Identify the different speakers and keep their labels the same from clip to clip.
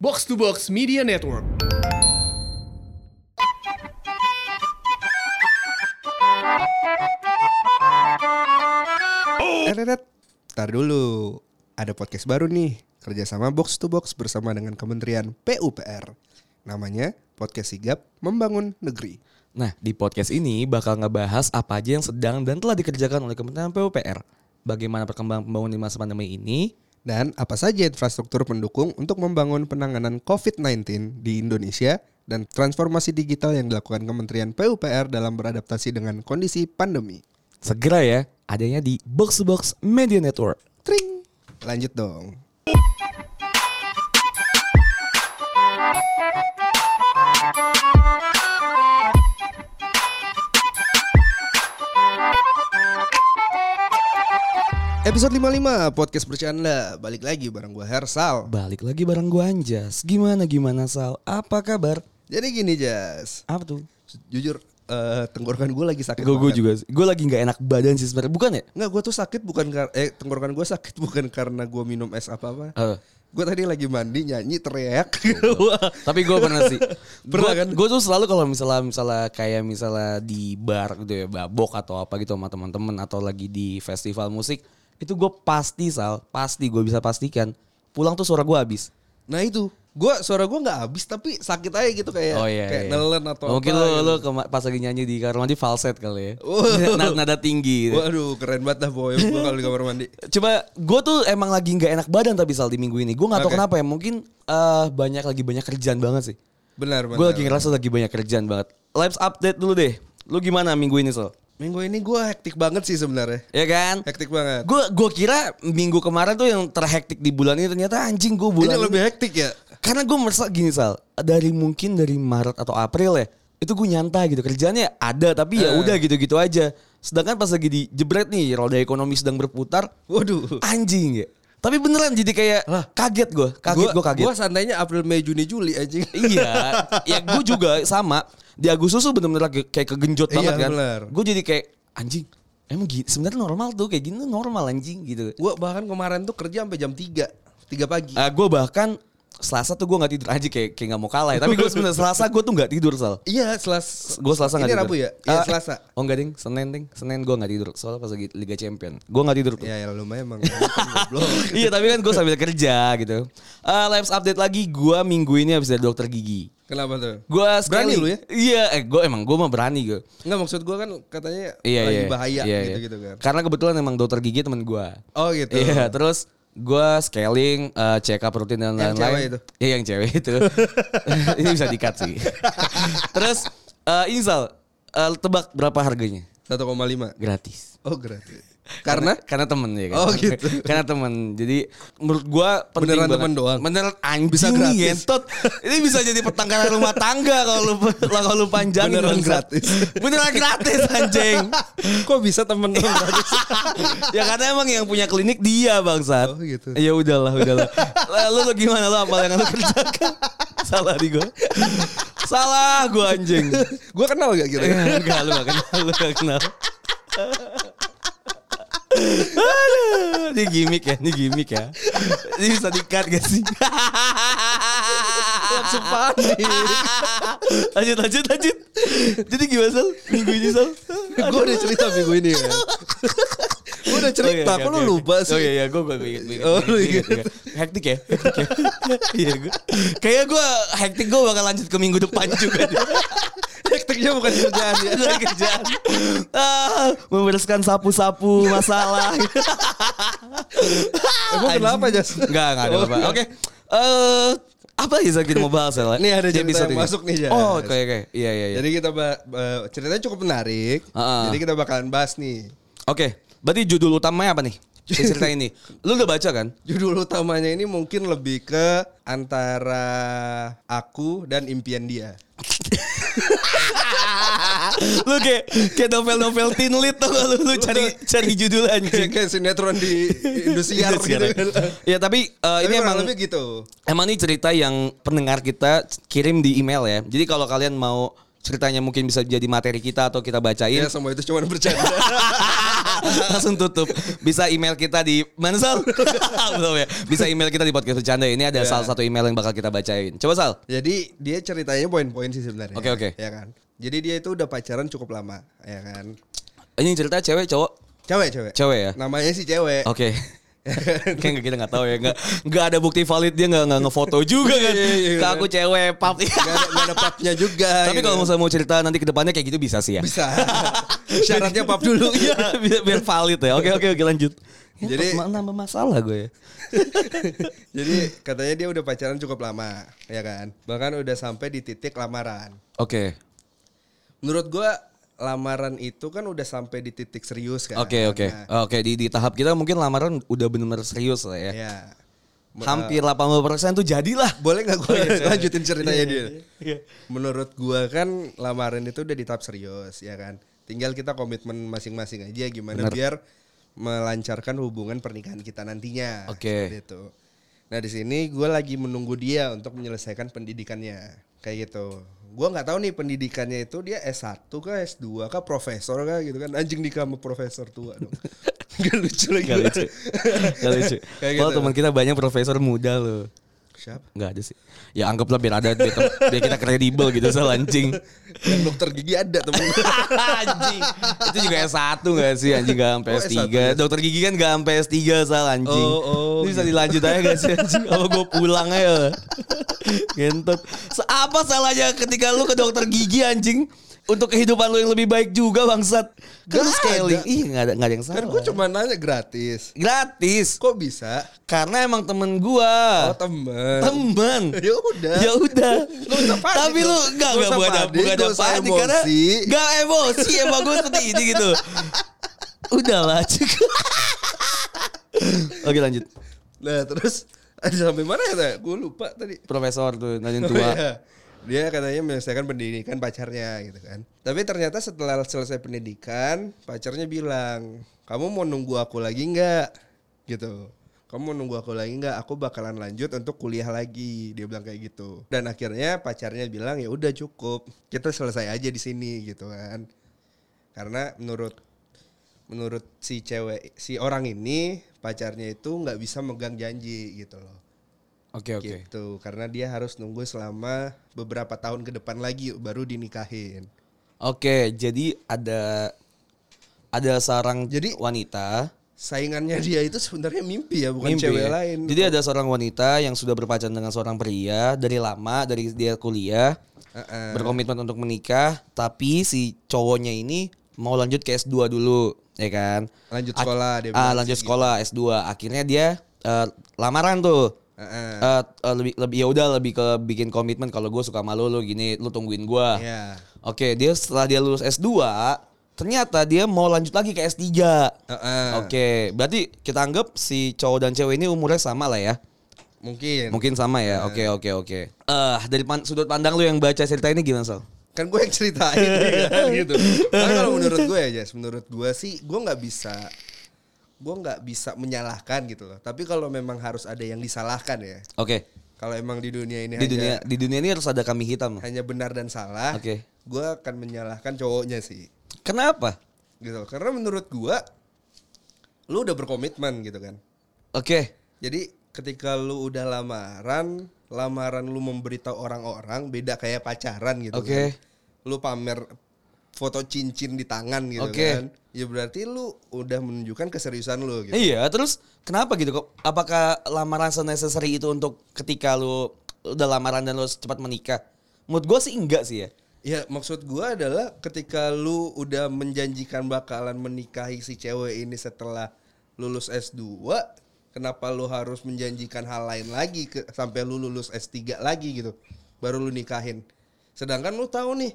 Speaker 1: Box to Box Media Network.
Speaker 2: Tetetet. Eh, Ntar dulu, ada podcast baru nih kerjasama Box to Box bersama dengan Kementerian PUPR. Namanya Podcast Sigap Membangun Negeri.
Speaker 3: Nah, di podcast ini bakal ngebahas apa aja yang sedang dan telah dikerjakan oleh Kementerian PUPR. Bagaimana perkembangan pembangunan di masa pandemi ini?
Speaker 2: Dan apa saja infrastruktur pendukung untuk membangun penanganan COVID-19 di Indonesia dan transformasi digital yang dilakukan Kementerian PUPR dalam beradaptasi dengan kondisi pandemi.
Speaker 3: Segera ya, adanya di Box to Box Media Network.
Speaker 2: Tring. Lanjut dong. Episode 55 podcast bercanda balik lagi bareng gue Hersal.
Speaker 3: Balik lagi bareng gua Anjas. Gimana gimana Sal? Apa kabar?
Speaker 2: Jadi gini Jas,
Speaker 3: Apa tuh?
Speaker 2: jujur eh, tenggorokan gue lagi sakit.
Speaker 3: Gue
Speaker 2: banget.
Speaker 3: juga, gue lagi nggak enak badan sih sebenarnya. Bukan ya?
Speaker 2: Nggak, gue tuh sakit bukan karena eh tenggorokan gue sakit bukan karena gue minum es apa apa.
Speaker 3: Eh.
Speaker 2: Gue tadi lagi mandi nyanyi teriak.
Speaker 3: Iya,
Speaker 2: Wah.
Speaker 3: Tapi gue pernah sih.
Speaker 2: Pernah kan?
Speaker 3: Gue tuh selalu kalau misalnya misalnya kayak misalnya di bar gitu ya, babok atau apa gitu sama teman-teman atau lagi di festival musik, itu gue pasti sal, pasti gue bisa pastikan pulang tuh suara gue habis.
Speaker 2: nah itu, gue suara gue nggak habis tapi sakit aja gitu kayak kayak nelen atau
Speaker 3: Oh, iya, Mungkin
Speaker 2: apa.
Speaker 3: lo,
Speaker 2: gitu.
Speaker 3: lo kema- pas lagi nyanyi di kamar mandi falset kali ya.
Speaker 2: Wow.
Speaker 3: nada, nada tinggi. Gitu.
Speaker 2: Waduh keren banget dah boy gue kalau di kamar mandi.
Speaker 3: Coba gue tuh emang lagi nggak enak badan tapi sal di minggu ini. Gue nggak tahu
Speaker 2: Oke.
Speaker 3: kenapa ya. Mungkin eh, banyak lagi banyak kerjaan banget sih.
Speaker 2: Benar benar.
Speaker 3: Gue lagi ngerasa lagi banyak kerjaan banget. Lives update dulu deh. Lu gimana minggu ini Sol?
Speaker 2: Minggu ini gue hektik banget sih sebenarnya.
Speaker 3: Ya kan?
Speaker 2: Hektik banget.
Speaker 3: Gue gua kira minggu kemarin tuh yang terhektik di bulan ini ternyata anjing gue
Speaker 2: ini
Speaker 3: bulan ini.
Speaker 2: lebih hektik ya.
Speaker 3: Karena gue merasa gini Sal, dari mungkin dari Maret atau April ya, itu gue nyantai gitu. Kerjaannya ada tapi
Speaker 2: Eh.
Speaker 3: ya udah gitu-gitu aja. Sedangkan pas lagi di jebret nih, roda ekonomi sedang berputar,
Speaker 2: Waduh.
Speaker 3: anjing ya. Tapi beneran jadi kayak kaget gue, kaget gue kaget.
Speaker 2: Gue santainya April Mei Juni Juli anjing.
Speaker 3: iya, ya gue juga sama. Di Agustus tuh bener-bener lagi kayak kegenjot
Speaker 2: Iya,
Speaker 3: banget kan.
Speaker 2: bener.
Speaker 3: Gue jadi kayak anjing. Emang gitu, sebenarnya normal tuh kayak gini tuh normal anjing gitu.
Speaker 2: Gue bahkan kemarin tuh kerja sampai jam 3 3 pagi.
Speaker 3: Eh gue bahkan Selasa tuh gue nggak tidur aja kayak kayak nggak mau kalah ya. Tapi gue sebenarnya Selasa gue tuh nggak tidur sal.
Speaker 2: Iya, Selasa.
Speaker 3: Gue Selasa nggak
Speaker 2: Ini
Speaker 3: tidur.
Speaker 2: Rabu ya? Iya,
Speaker 3: Eh,
Speaker 2: Selasa.
Speaker 3: Oh enggak ding, Senin ding, Senin gue nggak tidur. Soalnya pas lagi Liga Champion, gue nggak tidur. tuh.
Speaker 2: Ya, ya lumayan emang. Goblok.
Speaker 3: iya tapi kan gue sambil kerja gitu. Eh lives update lagi gue minggu ini habis dari dokter gigi.
Speaker 2: Kenapa tuh?
Speaker 3: Gue
Speaker 2: Berani lu ya?
Speaker 3: Iya, eh, gue emang gue mah berani gue.
Speaker 2: Enggak maksud gua kan katanya
Speaker 3: Iya
Speaker 2: lagi
Speaker 3: iya.
Speaker 2: bahaya
Speaker 3: iya, iya.
Speaker 2: gitu-gitu kan.
Speaker 3: Karena kebetulan emang dokter gigi teman gue.
Speaker 2: Oh gitu.
Speaker 3: Iya, terus gue scaling, eh, check up rutin dan
Speaker 2: Yang cewek
Speaker 3: lain-lain.
Speaker 2: itu?
Speaker 3: Iya, yang cewek itu. ini bisa dikat sih. terus eh, ini Sal, eh, tebak berapa harganya?
Speaker 2: 1,5.
Speaker 3: Gratis.
Speaker 2: Oh, gratis. Karena
Speaker 3: karena temen ya kan.
Speaker 2: Oh, gitu.
Speaker 3: karena temen. Jadi menurut gua
Speaker 2: Beneran
Speaker 3: penting banget.
Speaker 2: temen doang?
Speaker 3: Beneran anjing
Speaker 2: Bisa
Speaker 3: bisa
Speaker 2: gratis?
Speaker 3: Ngentot. Ini bisa jadi pertengkaran rumah tangga kalau lu kalau lu panjangin
Speaker 2: Beneran
Speaker 3: bangsat.
Speaker 2: gratis.
Speaker 3: Beneran gratis anjing.
Speaker 2: kok bisa temen dong gratis?
Speaker 3: ya karena emang yang punya klinik dia
Speaker 2: Oh,
Speaker 3: bangsat.
Speaker 2: gitu.
Speaker 3: Ya udahlah, udahlah. Lalu lu gimana lu apa yang lu kerjakan? Salah di gua. Salah gua anjing.
Speaker 2: gua kenal gak kira
Speaker 3: Eh, Enggak, lu gak kenal, lu gak kenal. Aduh, ini gimmick ya, ini gimmick ya. Ini bisa di-cut gak sih?
Speaker 2: Langsung panik.
Speaker 3: Iya. lanjut, lanjut, lanjut. Jadi gimana Sal? Minggu ini Sal?
Speaker 2: Gue udah cerita minggu ini kan. gue udah cerita, kok lu lupa sih?
Speaker 3: Oh iya, iya, gue gue inget.
Speaker 2: Oh, lu inget.
Speaker 3: Hektik ya, hektik ya. Iya, gue. Kayaknya gue hektik gue bakal lanjut ke minggu depan juga. deh.
Speaker 2: Hektiknya bukan kerjaan ya.
Speaker 3: dari kerjaan ah, membereskan sapu-sapu masalah
Speaker 2: Emang kenapa, Jas?
Speaker 3: enggak enggak ada apa
Speaker 2: Oh.
Speaker 3: oke eh apa ya Zal, kita mau bahas ya
Speaker 2: Ini ada cerita
Speaker 3: episode
Speaker 2: yang
Speaker 3: ini?
Speaker 2: masuk nih, Jas.
Speaker 3: oh oke oke iya iya iya.
Speaker 2: Jadi kita ba- ba- ceritanya cukup menarik.
Speaker 3: Heeh.
Speaker 2: Jadi kita bakalan bahas nih.
Speaker 3: oke berarti judul utamanya apa nih Si cerita ini lu udah baca kan
Speaker 2: Judul utamanya ini mungkin lebih ke antara aku dan impian dia.
Speaker 3: lu kayak kayak novel-novel teen lit tau gak lu, lu cari cari judul
Speaker 2: Kayak
Speaker 3: anjing
Speaker 2: kayak sinetron di Indosiar gitu kan.
Speaker 3: ya tapi eh,
Speaker 2: Tapi
Speaker 3: Iya, ini
Speaker 2: kurang
Speaker 3: emang
Speaker 2: lebih gitu.
Speaker 3: Emang ini cerita yang pendengar kita kirim di email ya. Jadi kalau kalian mau ceritanya mungkin bisa jadi materi kita atau kita bacain
Speaker 2: Ya semua itu cuma bercanda.
Speaker 3: langsung tutup. Bisa email kita di mana Sal? Belum ya. Bisa email kita di podcast bercanda. Ini
Speaker 2: Iya.
Speaker 3: ada salah satu email yang bakal kita bacain. Coba Sal.
Speaker 2: Jadi dia ceritanya poin-poin sih sebenarnya.
Speaker 3: Oke, oke.
Speaker 2: Ya kan. Jadi dia itu udah pacaran cukup lama, ya kan.
Speaker 3: Ini cerita cewek cowok
Speaker 2: Cewek, cewek.
Speaker 3: cewek ya.
Speaker 2: Namanya sih cewek.
Speaker 3: Oke. Kayaknya kita nggak tahu ya nggak nggak ada bukti valid dia nggak nggak ngefoto juga kan
Speaker 2: Iya, iya, iya.
Speaker 3: Kak, aku cewek pap
Speaker 2: Gak ada, gak ada papnya juga.
Speaker 3: tapi
Speaker 2: gitu.
Speaker 3: kalau misalnya mau cerita nanti kedepannya kayak gitu bisa sih ya
Speaker 2: bisa. Syaratnya pap dulu.
Speaker 3: Iya, biar, biar valid ya oke oke oke lanjut ya,
Speaker 2: Jadi-
Speaker 3: ma- nambah masalah gue ya
Speaker 2: Jadi katanya dia udah pacaran cukup lama, ya kan. Bahkan udah sampai di titik lamaran.
Speaker 3: oke
Speaker 2: Menurut gua lamaran itu kan udah sampai di titik serius kan.
Speaker 3: oke oke
Speaker 2: Nah,
Speaker 3: oke di di tahap kita mungkin lamaran udah benar-benar serius lah ya
Speaker 2: ya.
Speaker 3: hampir 80% tuh jadilah.
Speaker 2: Boleh nggak
Speaker 3: Oh,
Speaker 2: gue
Speaker 3: iya,
Speaker 2: lanjutin ceritanya dia? Menurut gua kan lamaran itu udah di tahap serius ya kan. Tinggal kita komitmen masing-masing aja gimana biar melancarkan hubungan pernikahan kita nantinya.
Speaker 3: Oke.
Speaker 2: Seperti itu. Nah di sini gua lagi menunggu dia untuk menyelesaikan pendidikannya kayak gitu. Gua nggak tahu nih pendidikannya itu dia S1 kah S2 kah profesor kah gitu kan anjing nikah sama profesor tua dong. Gak lucu lagi.
Speaker 3: Gak lucu. Gak lucu.
Speaker 2: Kayak
Speaker 3: Kalau
Speaker 2: gitu.
Speaker 3: teman kita banyak profesor muda loh.
Speaker 2: Siapa?
Speaker 3: Gak ada sih. Ya anggaplah biar ada biar, tem- biar kita kredibel gitu soal anjing.
Speaker 2: Yang dokter gigi ada temen.
Speaker 3: anjing. Itu juga S1 gak sih anjing gak sampai
Speaker 2: Oh, S1
Speaker 3: S3.
Speaker 2: ya?
Speaker 3: Dokter gigi kan gak sampai S3 soal anjing.
Speaker 2: Oh, oh,
Speaker 3: Ini bisa dilanjut aja gak sih anjing? Apa gue pulang aja. Gentot. Se- Apa salahnya ketika lu ke dokter gigi anjing? Untuk kehidupan lu yang lebih baik juga bangsat. Kan lu
Speaker 2: Gak
Speaker 3: scaling.
Speaker 2: ada.
Speaker 3: Ih gak ada, gak ada yang salah.
Speaker 2: kan gue cuma nanya gratis.
Speaker 3: Gratis.
Speaker 2: Kok bisa?
Speaker 3: Karena emang temen gua
Speaker 2: Oh temen.
Speaker 3: Temen
Speaker 2: Ya udah.
Speaker 3: Ya udah
Speaker 2: Gak usah panik
Speaker 3: Tapi lu
Speaker 2: dong.
Speaker 3: Gak,
Speaker 2: Gak
Speaker 3: gak,
Speaker 2: usah
Speaker 3: bukan ada,
Speaker 2: panik,
Speaker 3: bukan ada
Speaker 2: gak usah
Speaker 3: panik Karena
Speaker 2: emosi.
Speaker 3: Gak emosi Emang gue seperti ini gitu Udahlah cukup Oke lanjut
Speaker 2: Nah terus ada sampai mana ya? Gue lupa tadi.
Speaker 3: Profesor tuh Nanyain
Speaker 2: Oh,
Speaker 3: tua
Speaker 2: iya. Dia katanya menyelesaikan pendidikan pacarnya gitu kan. Tapi ternyata setelah selesai pendidikan, pacarnya bilang, kamu mau nunggu aku lagi nggak? Gitu. Kamu mau nunggu aku lagi nggak? Aku bakalan lanjut untuk kuliah lagi. Dia bilang kayak gitu. Dan akhirnya pacarnya bilang ya udah cukup, kita selesai aja di sini gitu kan. Karena menurut menurut si cewek si orang ini pacarnya itu nggak bisa megang janji gitu loh
Speaker 3: Oke oke
Speaker 2: gitu karena dia harus nunggu selama beberapa tahun ke depan lagi baru dinikahin
Speaker 3: Oke jadi ada Ada seorang
Speaker 2: Jadi-
Speaker 3: wanita
Speaker 2: saingannya dia itu sebenarnya mimpi ya bukan
Speaker 3: Mimpi
Speaker 2: cewek
Speaker 3: ya.
Speaker 2: lain
Speaker 3: Jadi ada seorang wanita yang sudah berpacaran dengan seorang pria dari lama, dari dia kuliah.
Speaker 2: Heeh.
Speaker 3: berkomitmen untuk menikah tapi si cowoknya ini mau lanjut ke S2 dulu ya kan
Speaker 2: lanjut
Speaker 3: Ak-
Speaker 2: sekolah dia
Speaker 3: ah,
Speaker 2: bilang
Speaker 3: lanjut
Speaker 2: sih
Speaker 3: sekolah S2 akhirnya dia eh, lamaran tuh
Speaker 2: gitu. Heeh.
Speaker 3: Eh, eh, lebih lebih ya udah lebih ke bikin komitmen kalau gue suka malu lu gini lu tungguin gua
Speaker 2: Iya.
Speaker 3: Oke, dia setelah dia lulus S2, ternyata dia mau lanjut lagi ke S3.
Speaker 2: Heeh.
Speaker 3: Oke, berarti kita anggap si cowok dan cewek ini umurnya sama lah ya.
Speaker 2: mungkin
Speaker 3: Mungkin sama
Speaker 2: Iya.
Speaker 3: ya. Oke, oke, oke. Eh, dari pan- sudut pandang lu yang baca cerita ini gimana, Sal?
Speaker 2: kan gue yang ceritain ya kan, gitu Karena kalau menurut gue ya Jas menurut gue sih gue nggak bisa gue nggak bisa menyalahkan gitu loh tapi kalau memang harus ada yang disalahkan ya
Speaker 3: Oke.
Speaker 2: kalau emang di dunia ini hanya
Speaker 3: Di dunia di dunia ini harus ada kami hitam.
Speaker 2: hanya benar dan salah
Speaker 3: Oke.
Speaker 2: gue akan menyalahkan cowoknya sih
Speaker 3: Kenapa?
Speaker 2: gitu karena menurut gua lu udah berkomitmen gitu kan
Speaker 3: Oke.
Speaker 2: jadi ketika lu udah lamaran lamaran lu memberitahu orang-orang beda kayak pacaran gitu
Speaker 3: Oke.
Speaker 2: kan lu pamer foto cincin di tangan gitu
Speaker 3: Oke.
Speaker 2: kan ya berarti lu udah menunjukkan keseriusan lu gitu
Speaker 3: Iya, terus kenapa gitu kok? Apakah lamaran necessary itu untuk ketika lu udah lamaran dan lu cepat menikah? Menurut gue sih enggak sih ya.
Speaker 2: ya maksud gua adalah ketika lu udah menjanjikan bakalan menikahi si cewek ini setelah lulus S2 kenapa lu harus menjanjikan hal lain lagi ke, sampai lu lulus S3 lagi gitu baru lu nikahin sedangkan lu tahu nih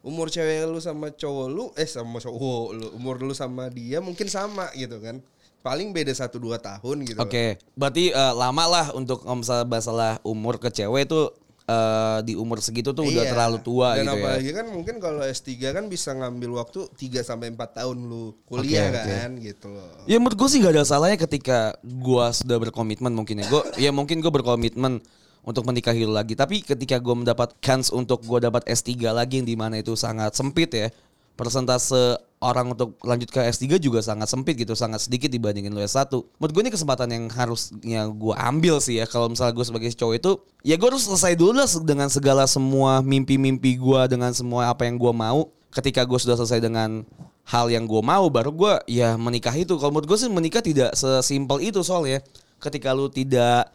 Speaker 2: umur cewek lu sama cowok lu eh sama cowok lu umur lu sama dia mungkin sama gitu kan paling beda 1 2 tahun gitu
Speaker 3: Oke, berarti eh, lama lah untuk om misalnya masalah umur ke cewek tuh eh, di umur segitu tuh udah
Speaker 2: Iya.
Speaker 3: terlalu tua
Speaker 2: Dan
Speaker 3: gitu ya.
Speaker 2: apalagi kan mungkin kalau S3 kan bisa ngambil waktu 3 sampai 4 tahun lu kuliah
Speaker 3: Oke, oke.
Speaker 2: kan gitu loh.
Speaker 3: Ya menurut gue sih gak ada salahnya ketika gue sudah berkomitmen mungkin ya. Gue ya mungkin gue berkomitmen untuk menikahi lu lagi. Tapi ketika gue mendapat chance untuk gue dapat S3 lagi yang dimana itu sangat sempit ya. Persentase orang untuk lanjut ke S3 juga sangat sempit gitu, sangat sedikit dibandingin lu S1. Menurut gue ini kesempatan yang harusnya gue ambil sih ya. Kalau misalnya gue sebagai cowok itu, ya gue harus selesai dulu lah dengan segala semua mimpi-mimpi gue, dengan semua apa yang gue mau. Ketika gue sudah selesai dengan hal yang gue mau, baru gue ya menikah itu. Kalau menurut gue sih menikah tidak sesimpel itu soalnya. Ketika lu tidak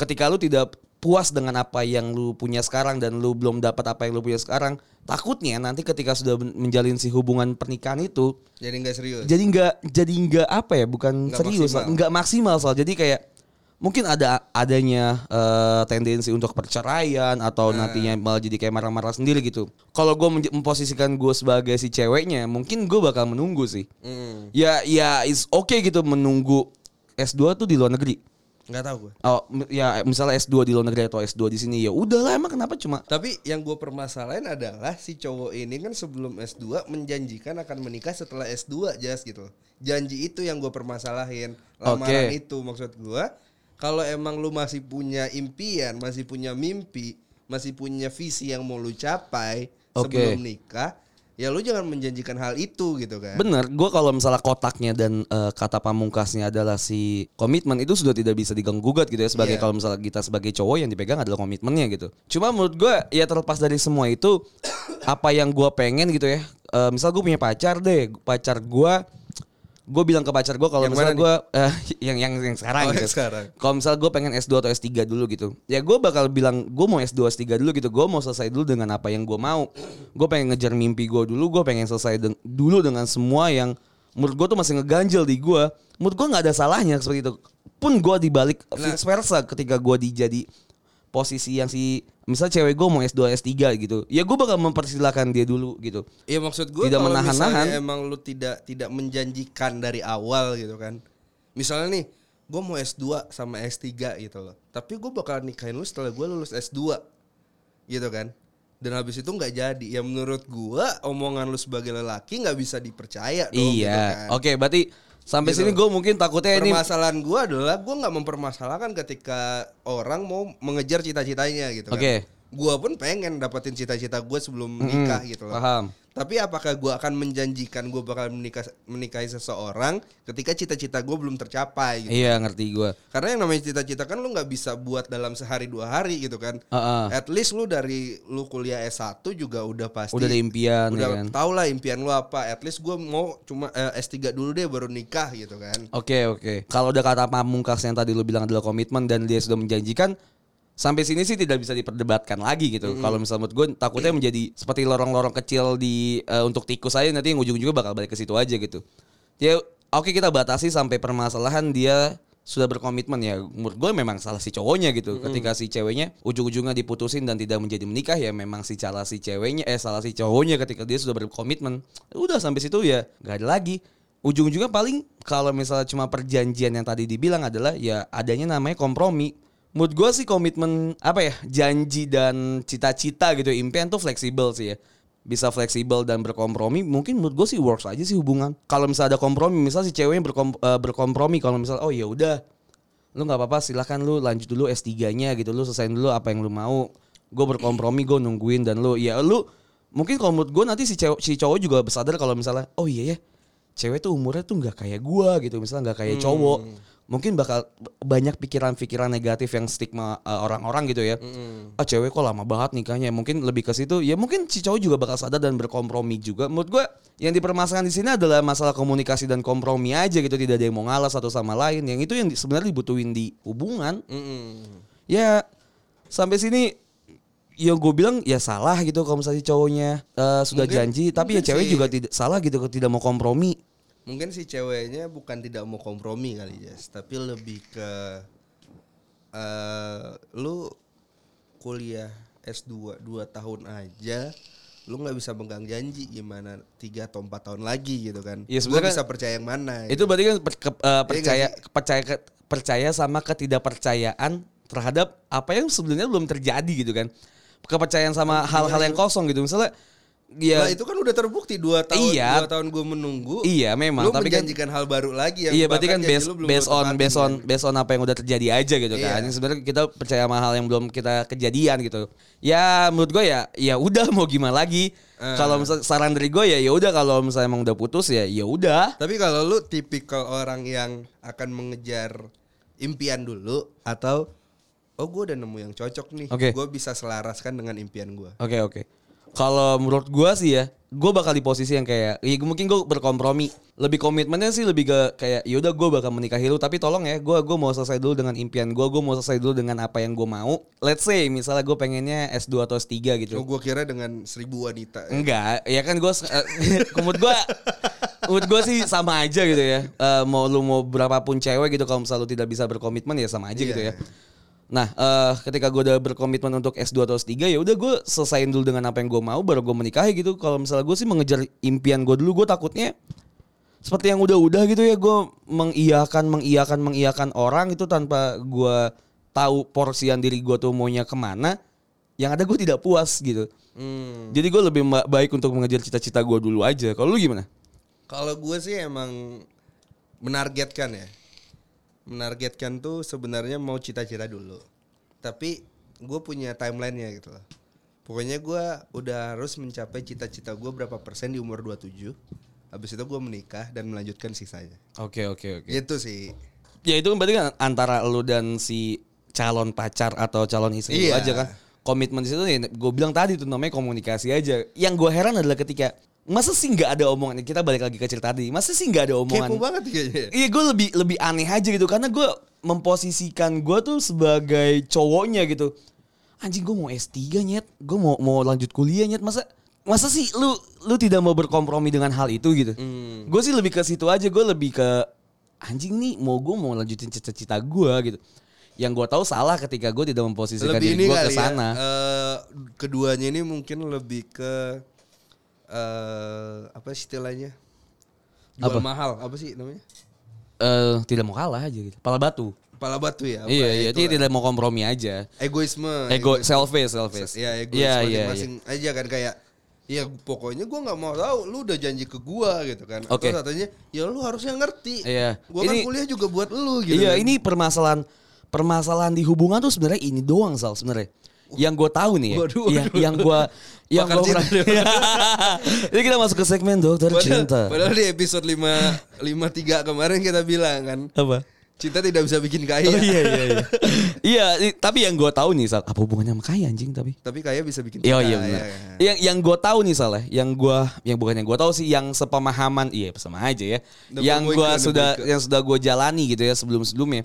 Speaker 3: ketika lu tidak puas dengan apa yang lu punya sekarang dan lu belum dapat apa yang lu punya sekarang, takutnya nanti ketika sudah men- menjalin si hubungan pernikahan itu
Speaker 2: Jadi nggak serius.
Speaker 3: jadi nggak jadi nggak apa ya bukan
Speaker 2: Nggak
Speaker 3: serius
Speaker 2: maksimal.
Speaker 3: nggak maksimal soal jadi kayak mungkin ada adanya eh, tendensi untuk perceraian atau
Speaker 2: Nah.
Speaker 3: nantinya malah jadi kayak marah-marah sendiri gitu kalau gue memposisikan gue sebagai si ceweknya mungkin gue bakal menunggu sih
Speaker 2: Hmm,
Speaker 3: ya ya is okay gitu menunggu S2 tuh di luar negeri
Speaker 2: nggak tahu gue.
Speaker 3: Oh, m- ya misalnya S2 di luar negeri atau S2 di sini ya udahlah emang kenapa cuma
Speaker 2: Tapi yang gue permasalahin adalah si cowok ini kan sebelum S2 menjanjikan akan menikah setelah S2 jas gitu. Janji itu yang gue permasalahin. Lamaran
Speaker 3: Oke.
Speaker 2: itu maksud gue. Kalau emang lu masih punya impian, masih punya mimpi, masih punya visi yang mau lu capai
Speaker 3: Oke.
Speaker 2: sebelum nikah, ya lu jangan menjanjikan hal itu gitu kan.
Speaker 3: Bener, gue kalau misalnya kotaknya dan eh, kata pamungkasnya adalah si komitmen itu sudah tidak bisa diganggu gugat gitu ya sebagai
Speaker 2: Iya.
Speaker 3: kalau misalnya kita sebagai cowok yang dipegang adalah komitmennya gitu. Cuma menurut gue ya terlepas dari semua itu apa yang gue pengen gitu ya. Eh, misal gue punya pacar deh, pacar gue, gue bilang ke pacar gue kalau
Speaker 2: Yang
Speaker 3: misalnya
Speaker 2: mana
Speaker 3: gue yang yang yang sekarang
Speaker 2: Oh,
Speaker 3: gitu.
Speaker 2: yang sekarang.
Speaker 3: Kalau misalnya gue pengen S2 atau S3 dulu gitu Ya gue bakal bilang gue mau S2 S3 dulu gitu Gue mau selesai dulu dengan apa yang gue mau Gue pengen ngejar mimpi gue dulu Gue pengen selesai deng- dulu dengan semua yang Menurut gue tuh masih ngeganjel di gue Menurut gue gak ada salahnya seperti itu Pun gue dibalik
Speaker 2: Nah.
Speaker 3: vice versa ketika gue dijadi posisi yang si Misalnya cewek gue mau S2 S3 gitu Ya gue bakal mempersilahkan dia dulu gitu
Speaker 2: Ya maksud gue
Speaker 3: Tidak
Speaker 2: kalau
Speaker 3: menahan-nahan.
Speaker 2: misalnya Emang lu tidak tidak menjanjikan dari awal gitu kan. Misalnya nih, gue mau S2 sama S3 gitu loh. Tapi gue bakal nikahin lu setelah gue lulus S2 gitu kan. Dan habis itu nggak jadi. Ya menurut gue omongan lu sebagai lelaki nggak bisa dipercaya dong. gitu
Speaker 3: Iya
Speaker 2: kan.
Speaker 3: Oke berarti sampai
Speaker 2: Gitu.
Speaker 3: sini gue mungkin takutnya ini
Speaker 2: Permasalahan gue adalah gue nggak mempermasalahkan ketika orang mau mengejar cita-citanya gitu kan.
Speaker 3: Oke.
Speaker 2: Gue pun pengen dapetin cita-cita gue sebelum nikah gitu loh.
Speaker 3: Paham
Speaker 2: Tapi apakah gue akan menjanjikan gue bakal menikah menikahi seseorang ketika cita-cita gue belum tercapai? Gitu.
Speaker 3: Iya ngerti gue
Speaker 2: Karena yang namanya cita-cita kan lu nggak bisa buat dalam sehari dua hari gitu kan.
Speaker 3: Heeh.
Speaker 2: At least lu dari lu kuliah S1 juga udah pasti
Speaker 3: Udah ada impian
Speaker 2: udah
Speaker 3: ya kan?
Speaker 2: tau lah impian lu apa. At least gue mau cuma eh, S3 dulu deh baru nikah gitu kan.
Speaker 3: Oke oke. Kalau udah kata pamungkas yang tadi lu bilang adalah komitmen dan dia sudah menjanjikan sampai sini sih tidak bisa diperdebatkan lagi gitu. Kalau misalnya menurut gue takutnya menjadi seperti lorong-lorong kecil di eh, untuk tikus aja nanti yang ujung-ujungnya bakal balik ke situ aja gitu. Ya oke kita batasi sampai permasalahan dia sudah berkomitmen ya menurut gue memang salah si cowoknya gitu ketika si ceweknya ujung-ujungnya diputusin dan tidak menjadi menikah ya memang si salah si ceweknya eh salah si cowoknya ketika dia sudah berkomitmen udah sampai situ ya nggak ada lagi ujung-ujungnya paling kalau misalnya cuma perjanjian yang tadi dibilang adalah ya adanya namanya kompromi. Menurut gue sih komitmen apa ya janji dan cita-cita gitu impian tuh fleksibel sih ya bisa fleksibel dan berkompromi mungkin menurut gue sih works aja sih hubungan kalau misalnya ada kompromi misalnya si ceweknya berkom- eh, berkompromi kalau misalnya oh ya udah lu nggak apa-apa silahkan lu lanjut dulu S3-nya gitu lu selesain dulu apa yang lu mau gue berkompromi gue nungguin dan lu ya lu mungkin kalau menurut gue nanti si cewek si cowok juga sadar kalau misalnya oh iya ya cewek tuh umurnya tuh nggak kayak gue gitu misalnya nggak kayak cowok mungkin bakal b- banyak pikiran-pikiran negatif yang stigma uh, orang-orang gitu ya ah cewek kok lama banget nikahnya mungkin lebih ke situ ya mungkin si cowok juga bakal sadar dan berkompromi juga menurut gue yang dipermasalahkan di sini adalah masalah komunikasi dan kompromi aja gitu tidak ada yang mau ngalah satu sama lain yang itu yang di- sebenarnya dibutuhin di hubungan
Speaker 2: Mm-mm.
Speaker 3: ya sampai sini ya gue bilang ya salah gitu kalau misalnya si cowoknya eh, sudah
Speaker 2: Mungkin-
Speaker 3: janji tapi ya
Speaker 2: mungkin
Speaker 3: cewek
Speaker 2: sih.
Speaker 3: juga tidak salah gitu kalau tidak mau kompromi
Speaker 2: Mungkin si ceweknya bukan tidak mau kompromi kali Jas, tapi lebih ke eh lu kuliah S2 2 tahun aja lu nggak bisa megang janji gimana 3 atau 4 tahun lagi gitu kan.
Speaker 3: Iya,
Speaker 2: Gua
Speaker 3: sebenarnya
Speaker 2: bisa percaya yang mana. gitu.
Speaker 3: Itu berarti kan per- ke- eh, percaya
Speaker 2: Iya nggak
Speaker 3: percaya ke- percaya sama ketidakpercayaan terhadap apa yang sebenarnya belum terjadi gitu kan. Kepercayaan sama hal-hal yang kosong gitu. Misalnya
Speaker 2: Nah,
Speaker 3: ya
Speaker 2: Iya, itu kan udah terbukti dua tahun
Speaker 3: Iya.
Speaker 2: dua tahun gue menunggu.
Speaker 3: Iya, memang,
Speaker 2: Lu
Speaker 3: tapi kan-
Speaker 2: menjanjikan hal baru lagi yang
Speaker 3: Iya berarti kan
Speaker 2: bahkan janji
Speaker 3: based
Speaker 2: lu belum
Speaker 3: based
Speaker 2: lu
Speaker 3: on
Speaker 2: tepatin
Speaker 3: based on
Speaker 2: kan.
Speaker 3: based on apa yang udah terjadi aja gitu
Speaker 2: Iya.
Speaker 3: kan. Yang Sebenarnya kita percaya sama hal yang belum kita kejadian gitu. Ya menurut gue ya ya udah mau gimana lagi.
Speaker 2: Eh.
Speaker 3: Kalau misal saran dari gue ya ya udah kalau misalnya emang udah putus ya ya udah.
Speaker 2: Tapi kalau lu tipikal orang yang akan mengejar impian dulu atau oh gue udah nemu yang cocok nih,
Speaker 3: Oke.
Speaker 2: gue bisa selaraskan dengan impian gue.
Speaker 3: Oke oke. Kalau menurut gue sih ya, gue bakal di posisi yang kayak, ya mungkin gue berkompromi. Lebih komitmennya sih lebih ke kayak, yaudah gue bakal menikahi lu, tapi tolong ya, gue gue mau selesai dulu dengan impian gue, gue mau selesai dulu dengan apa yang gue mau. Let's say misalnya gue pengennya S2 atau S3 gitu.
Speaker 2: Oh gue kira dengan seribu wanita.
Speaker 3: Enggak, ya kan gue, menurut gue, menurut gue sih sama aja gitu ya. Eh, mau lu mau berapapun cewek gitu, kalau misalnya lu tidak bisa berkomitmen ya sama aja gitu ya. Nah, eh, ketika gue udah berkomitmen untuk S2 atau S3 ya udah gue selesaiin dulu dengan apa yang gue mau, baru gue menikahi gitu. Kalau misalnya gue sih mengejar impian gue dulu, gue takutnya seperti yang udah-udah gitu ya, gue mengiyakan, mengiyakan, mengiyakan orang itu tanpa gue tahu porsian diri gue tuh maunya kemana. Yang ada gue tidak puas gitu.
Speaker 2: Hmm.
Speaker 3: Jadi gue lebih ma- baik untuk mengejar cita-cita gue dulu aja. Kalau lu gimana?
Speaker 2: Kalau gue sih emang menargetkan ya. Menargetkan tuh sebenarnya mau cita-cita dulu. Tapi gue punya timelinenya gitu loh. Pokoknya gue udah harus mencapai cita-cita gue berapa persen di umur 27. Habis itu gue menikah dan melanjutkan sisanya.
Speaker 3: Oke oke oke.
Speaker 2: Gitu sih.
Speaker 3: Ya itu berarti kan antara lu dan si calon pacar atau calon istri lu
Speaker 2: Iya.
Speaker 3: aja kan. Komitmen di situ ya gue bilang tadi tuh namanya komunikasi aja. Yang gue heran adalah ketika masa sih nggak ada omongan kita balik lagi ke cerita tadi. Masa sih nggak ada omongan?
Speaker 2: Kepo banget kayaknya.
Speaker 3: Iya gue lebih lebih aneh aja gitu karena gue memposisikan gue tuh sebagai cowoknya gitu. Anjing gue mau S3 nyet, gue mau mau lanjut kuliah nyet masa masa sih lu lu tidak mau berkompromi dengan hal itu gitu.
Speaker 2: Hmm.
Speaker 3: Gue sih lebih ke situ aja gue lebih ke anjing nih mau gue mau lanjutin cita-cita gue gitu. Yang gue tahu salah ketika gue tidak memposisikan
Speaker 2: lebih ini
Speaker 3: diri gue
Speaker 2: kali
Speaker 3: ke
Speaker 2: ya.
Speaker 3: sana.
Speaker 2: eh, keduanya ini mungkin lebih ke eh apa sih istilahnya? Jual
Speaker 3: Apa?
Speaker 2: mahal, apa sih namanya?
Speaker 3: Eh, tidak mau kalah aja gitu. Pala batu.
Speaker 2: Pala batu ya. apa
Speaker 3: iya
Speaker 2: ya,
Speaker 3: iya,
Speaker 2: itu
Speaker 3: dia
Speaker 2: lah. Oh,
Speaker 3: tidak mau kompromi aja.
Speaker 2: egoisme
Speaker 3: Ego selfish selfish.
Speaker 2: ya egois
Speaker 3: Iya, iya, iya.
Speaker 2: masing-masing aja kan kayak ya pokoknya gua nggak mau tahu lu udah janji ke gua gitu kan
Speaker 3: Oke.
Speaker 2: atau satunya ya lu harusnya ngerti
Speaker 3: Iya.
Speaker 2: gua
Speaker 3: Ini-
Speaker 2: kan kuliah juga buat lu gitu
Speaker 3: Iya,
Speaker 2: kan.
Speaker 3: ini permasalahan permasalahan di hubungan tuh sebenarnya ini doang Sal sebenarnya. Yang gue tahu nih ya,
Speaker 2: Waduh,
Speaker 3: Iya,
Speaker 2: waduh.
Speaker 3: yang gue yang
Speaker 2: Bakar
Speaker 3: gue
Speaker 2: cinta dong.
Speaker 3: Ini kita masuk ke segmen dokter
Speaker 2: padahal,
Speaker 3: cinta.
Speaker 2: padahal di episode 5 53 kemarin kita bilang kan
Speaker 3: Apa?
Speaker 2: cinta tidak bisa bikin kaya
Speaker 3: Oh, iya iya iya. iya, i- tapi yang gue tahu nih Sal, apa hubungannya sama kaya anjing tapi?
Speaker 2: tapi kaya bisa bikin
Speaker 3: Iya
Speaker 2: cinta
Speaker 3: iya benar.
Speaker 2: ya kan?
Speaker 3: Yang yang gue tahu nih salah, yang gue yang bukan yang gue tahu sih yang sepemahaman iya sama aja ya.
Speaker 2: Double
Speaker 3: yang
Speaker 2: boy
Speaker 3: gue
Speaker 2: ke, double
Speaker 3: sudah
Speaker 2: boy ke.
Speaker 3: yang sudah gue jalani gitu ya sebelum sebelumnya.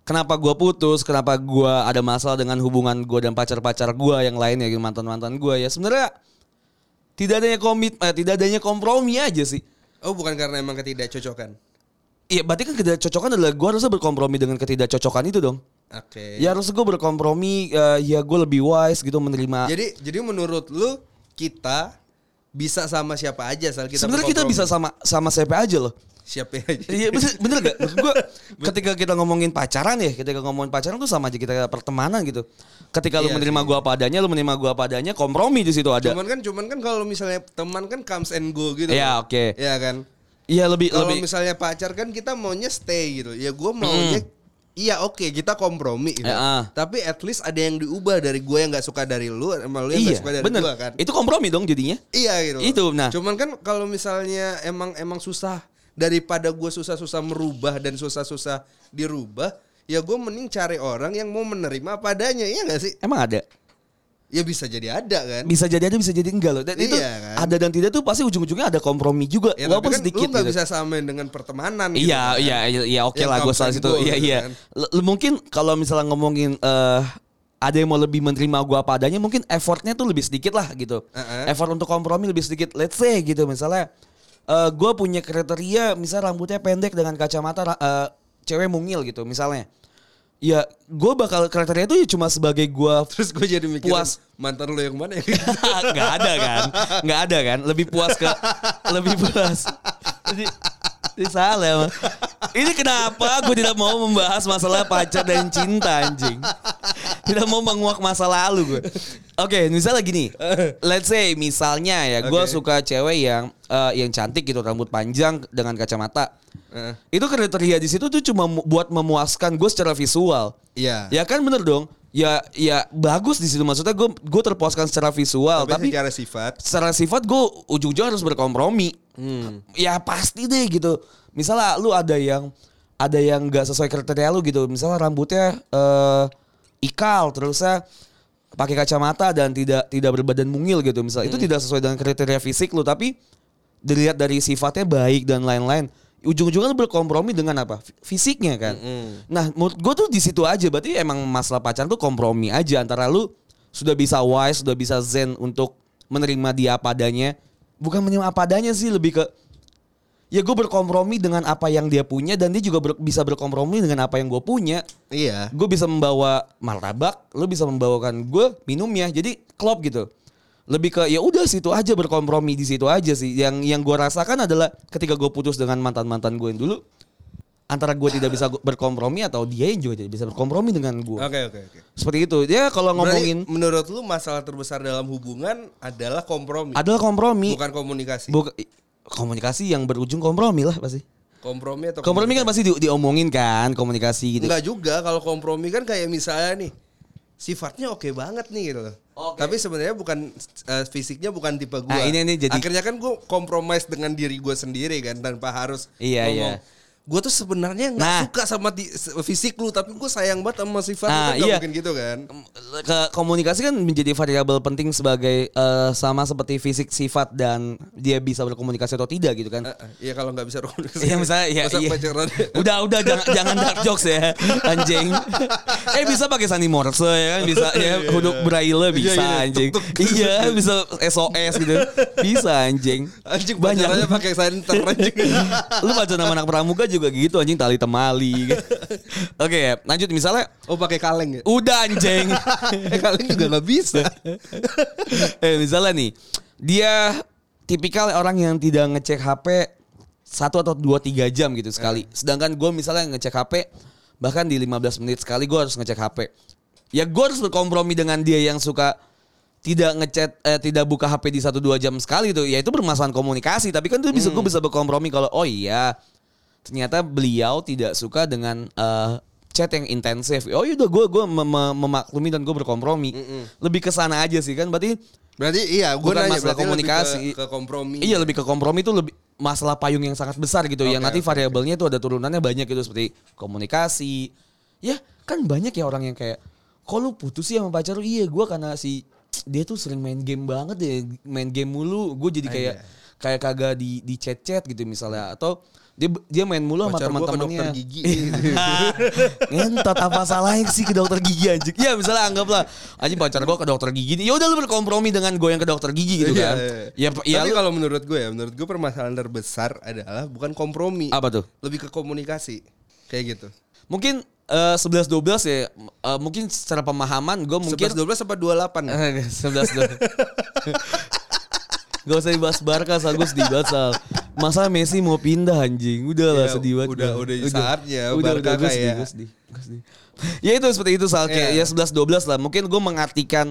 Speaker 3: Kenapa gue putus? Kenapa gue ada masalah dengan hubungan gue dan pacar-pacar gue yang lainnya, mantan mantan gue ya sebenarnya tidak adanya komit, eh, tidak adanya kompromi aja sih.
Speaker 2: oh bukan karena emang ketidakcocokan
Speaker 3: Iya, berarti kan ketidakcocokan adalah gue harusnya berkompromi dengan ketidakcocokan itu dong.
Speaker 2: oke
Speaker 3: Ya harusnya gue berkompromi, eh, ya gue lebih wise gitu menerima
Speaker 2: jadi jadi menurut lu kita bisa sama siapa aja asal kita
Speaker 3: Sebenarnya kita bisa
Speaker 2: berkompromi.
Speaker 3: sama sama siapa aja loh.
Speaker 2: siapa aja
Speaker 3: Iya bener, bener gak? Maksud gua, ketika kita ngomongin pacaran ya, ketika ngomongin pacaran tuh sama aja kita pertemanan gitu. Ketika lu
Speaker 2: Iya
Speaker 3: menerima gua apa adanya, lu menerima gua apa adanya, kompromi di situ ada.
Speaker 2: Cuman kan cuman kan kalau misalnya teman kan comes and go gitu. kan.
Speaker 3: Iya, oke.
Speaker 2: Iya kan.
Speaker 3: Iya lebih
Speaker 2: Kalau
Speaker 3: lebih.
Speaker 2: misalnya pacar kan kita maunya stay gitu. Ya gua maunya
Speaker 3: Hmm.
Speaker 2: Iya oke kita kompromi gitu.
Speaker 3: Ya, ah.
Speaker 2: Tapi at least ada yang diubah dari gue yang nggak suka dari lu sama lu yang nggak
Speaker 3: iya,
Speaker 2: suka dari
Speaker 3: bener.
Speaker 2: gua kan.
Speaker 3: Itu kompromi dong jadinya.
Speaker 2: iya gitu. loh.
Speaker 3: Itu, nah.
Speaker 2: Cuman kan kalau misalnya emang emang susah daripada gue susah-susah merubah dan susah-susah dirubah, ya gue mending cari orang yang mau menerima padanya ya nggak sih?
Speaker 3: Emang ada.
Speaker 2: Ya bisa jadi ada kan.
Speaker 3: Bisa jadi ada, bisa jadi enggak loh. Dan
Speaker 2: Iya
Speaker 3: itu
Speaker 2: kan.
Speaker 3: ada dan tidak tuh pasti ujung-ujungnya ada kompromi juga,
Speaker 2: Ya,
Speaker 3: walaupun
Speaker 2: tapi kan
Speaker 3: sedikit
Speaker 2: lu nggak
Speaker 3: gitu.
Speaker 2: bisa samain dengan pertemanan. gitu kan.
Speaker 3: Iya, iya, iya, iya, oke
Speaker 2: Yang
Speaker 3: lah, gue
Speaker 2: comes
Speaker 3: salah
Speaker 2: and
Speaker 3: situ.
Speaker 2: go
Speaker 3: Iya,
Speaker 2: gitu
Speaker 3: iya.
Speaker 2: kan.
Speaker 3: L- l- mungkin kalau misalnya ngomongin eh ada yang mau lebih menerima gue apa adanya, mungkin effortnya tuh lebih sedikit lah gitu.
Speaker 2: Heeh.
Speaker 3: Effort untuk kompromi lebih sedikit. Let's say gitu misalnya, eh gue punya kriteria, misal rambutnya pendek dengan kacamata ra- eh, cewek mungil gitu, misalnya. Ya, gue bakal kriteria itu ya cuma sebagai gue
Speaker 2: Terus gue jadi mikir
Speaker 3: Puas.
Speaker 2: mantan lu yang mana ya?
Speaker 3: nggak ada kan nggak ada kan lebih puas ke lebih puas jadi, jadi salah emang. ini kenapa gue tidak mau membahas masalah pacar dan cinta anjing tidak mau menguak masa lalu gue. Oke, misalnya gini. Let's say misalnya ya, gue
Speaker 2: Oke.
Speaker 3: suka cewek yang eh, yang cantik gitu, rambut panjang dengan kacamata.
Speaker 2: Heeh.
Speaker 3: Itu kriteria di situ tuh cuma mu- buat memuaskan gue secara visual.
Speaker 2: Iya.
Speaker 3: Ya kan bener dong. Ya ya bagus di situ maksudnya gue gue terpuaskan secara visual,
Speaker 2: Tapi
Speaker 3: tapi,
Speaker 2: secara sifat.
Speaker 3: secara sifat gue ujung-ujungnya harus berkompromi. Ya pasti deh gitu. Misalnya lu ada yang ada yang gak sesuai kriteria lu gitu. Misalnya rambutnya eh, ikal terusnya pakai kacamata dan tidak tidak berbadan mungil gitu. Misal itu tidak sesuai dengan kriteria fisik lu tapi dilihat dari sifatnya baik dan lain-lain. Ujung-ujungnya lu berkompromi dengan apa? Fi- Fisiknya kan. Nah, menurut gue tuh di situ aja berarti emang masalah pacaran tuh kompromi aja antara lu sudah bisa wise, sudah bisa zen untuk menerima dia apa adanya. Bukan menerima apa adanya sih, lebih ke ya gue berkompromi dengan apa yang dia punya dan dia juga ber- bisa berkompromi dengan apa yang gue punya.
Speaker 2: Iya.
Speaker 3: Gue bisa membawa martabak, lu bisa membawakan gue minumnya. Jadi klop gitu. Lebih ke ya udah situ aja berkompromi di situ aja sih. Yang yang gue rasakan adalah ketika gue putus dengan mantan-mantan gue yang dulu antara gue tidak bisa gu- berkompromi atau dia yang juga tidak bisa berkompromi dengan gue.
Speaker 2: Oke oke oke.
Speaker 3: Seperti itu. Ya kalau
Speaker 2: Berarti
Speaker 3: ngomongin
Speaker 2: menurut lu masalah terbesar dalam hubungan adalah kompromi,
Speaker 3: adalah kompromi.
Speaker 2: bukan komunikasi.
Speaker 3: Buka- komunikasi yang berujung kompromi lah pasti.
Speaker 2: kompromi atau
Speaker 3: Kompromi kan pasti di- diomongin kan komunikasi gitu.
Speaker 2: Enggak juga kalau kompromi kan kayak misalnya nih sifatnya oke banget nih gitu loh.
Speaker 3: Oke.
Speaker 2: Tapi sebenarnya bukan eh, fisiknya bukan tipe gua.
Speaker 3: Nah, ini- ini jadi-
Speaker 2: Akhirnya kan gua kompromis dengan diri gua sendiri kan tanpa harus
Speaker 3: Iya,
Speaker 2: ngomong.
Speaker 3: iya.
Speaker 2: Gua tuh sebenarnya nggak
Speaker 3: Nah.
Speaker 2: suka sama di- s- fisik lu tapi gua sayang banget sama sifat lu
Speaker 3: Nah,
Speaker 2: kan nggak
Speaker 3: iya.
Speaker 2: mungkin gitu kan.
Speaker 3: Ke komunikasi kan menjadi variabel penting sebagai eh, sama seperti fisik, sifat dan dia bisa berkomunikasi atau tidak gitu kan.
Speaker 2: Eh, eh, Iya kalau nggak bisa komunikasi.
Speaker 3: Iya misalnya ya,
Speaker 2: Masa
Speaker 3: iya.
Speaker 2: pacaran?
Speaker 3: Udah udah jangan, jangan dark jokes ya anjing. Eh bisa pakai Sani Morse ya kan bisa ya huruf braille bisa
Speaker 2: Iya, iya,
Speaker 3: anjing.
Speaker 2: tuk, tuk.
Speaker 3: Iya bisa SOS gitu. Bisa anjing.
Speaker 2: Anjing
Speaker 3: Banyak.
Speaker 2: pacarannya pakai senter anjing.
Speaker 3: Lu baca nama anak pramuka juga gitu anjing tali temali. Oke, ya, lanjut misalnya
Speaker 2: Oh pakai kaleng ya?
Speaker 3: udah anjing.
Speaker 2: eh kaleng juga nggak bisa.
Speaker 3: eh misalnya nih dia tipikal orang yang tidak ngecek HP satu atau dua tiga jam gitu
Speaker 2: Eh.
Speaker 3: sekali. Sedangkan gue misalnya ngecek HP bahkan di 15 menit sekali gue harus ngecek HP. Ya gue harus berkompromi dengan dia yang suka tidak ngechat eh, tidak buka HP di satu dua jam sekali tuh. Ya itu bermasalahan komunikasi. Tapi kan tuh bisa
Speaker 2: Hmm.
Speaker 3: gue bisa berkompromi kalau oh iya ternyata beliau tidak suka dengan eh, chat yang intensif. Oh yaudah gue gue memaklumi dan gue berkompromi. Lebih ke sana aja sih kan. Berarti
Speaker 2: Berarti iya, gue
Speaker 3: Bukan
Speaker 2: nanya berarti
Speaker 3: masalah
Speaker 2: lebih
Speaker 3: komunikasi.
Speaker 2: ke, ke kompromi.
Speaker 3: Iya lebih ke kompromi itu lebih masalah payung yang sangat besar gitu yang
Speaker 2: Oke,
Speaker 3: nanti
Speaker 2: oke,
Speaker 3: variabelnya itu ada turunannya banyak gitu seperti komunikasi. Ya kan banyak ya orang yang kayak kok lu putus sih sama pacar lu? Iya gua karena si dia tuh sering main game banget deh, main game mulu. Gue
Speaker 2: Ah,
Speaker 3: jadi kayak
Speaker 2: iya.
Speaker 3: kayak kagak di di chat-chat gitu misalnya atau dia dia main mulu sama
Speaker 2: Pacar gua ke
Speaker 3: teman-temannya.
Speaker 2: dokter gigi.
Speaker 3: Ngentot apa salahnya sih ke dokter gigi anjing. Ya misalnya anggaplah anjing pacar gua ke dokter gigi. nih, Ya udah lu berkompromi dengan gue yang ke dokter gigi gitu
Speaker 2: Iya,
Speaker 3: kan.
Speaker 2: iya.
Speaker 3: Ya ya
Speaker 2: Tapi
Speaker 3: lu-
Speaker 2: kalau menurut gue ya, menurut gue permasalahan terbesar adalah bukan kompromi,
Speaker 3: apa tuh?
Speaker 2: lebih ke komunikasi. Kayak gitu.
Speaker 3: Mungkin sebelas 11 12 ya eh, mungkin secara pemahaman gue mungkin
Speaker 2: 11 12 apa 28?
Speaker 3: Eh, 11 12. Gak usah dibahas Barca, soal gue sedih banget Sal. Masa Messi mau pindah anjing, udah lah
Speaker 2: Ya,
Speaker 3: sedih banget.
Speaker 2: udah-
Speaker 3: gua.
Speaker 2: udah saatnya
Speaker 3: udah,
Speaker 2: Barca
Speaker 3: udah, gue sedih,
Speaker 2: kayak-
Speaker 3: gue sedih, gue sedih. ya itu seperti itu Sal, kayak
Speaker 2: Iya.
Speaker 3: ya 11 12 lah. Mungkin gue mengartikan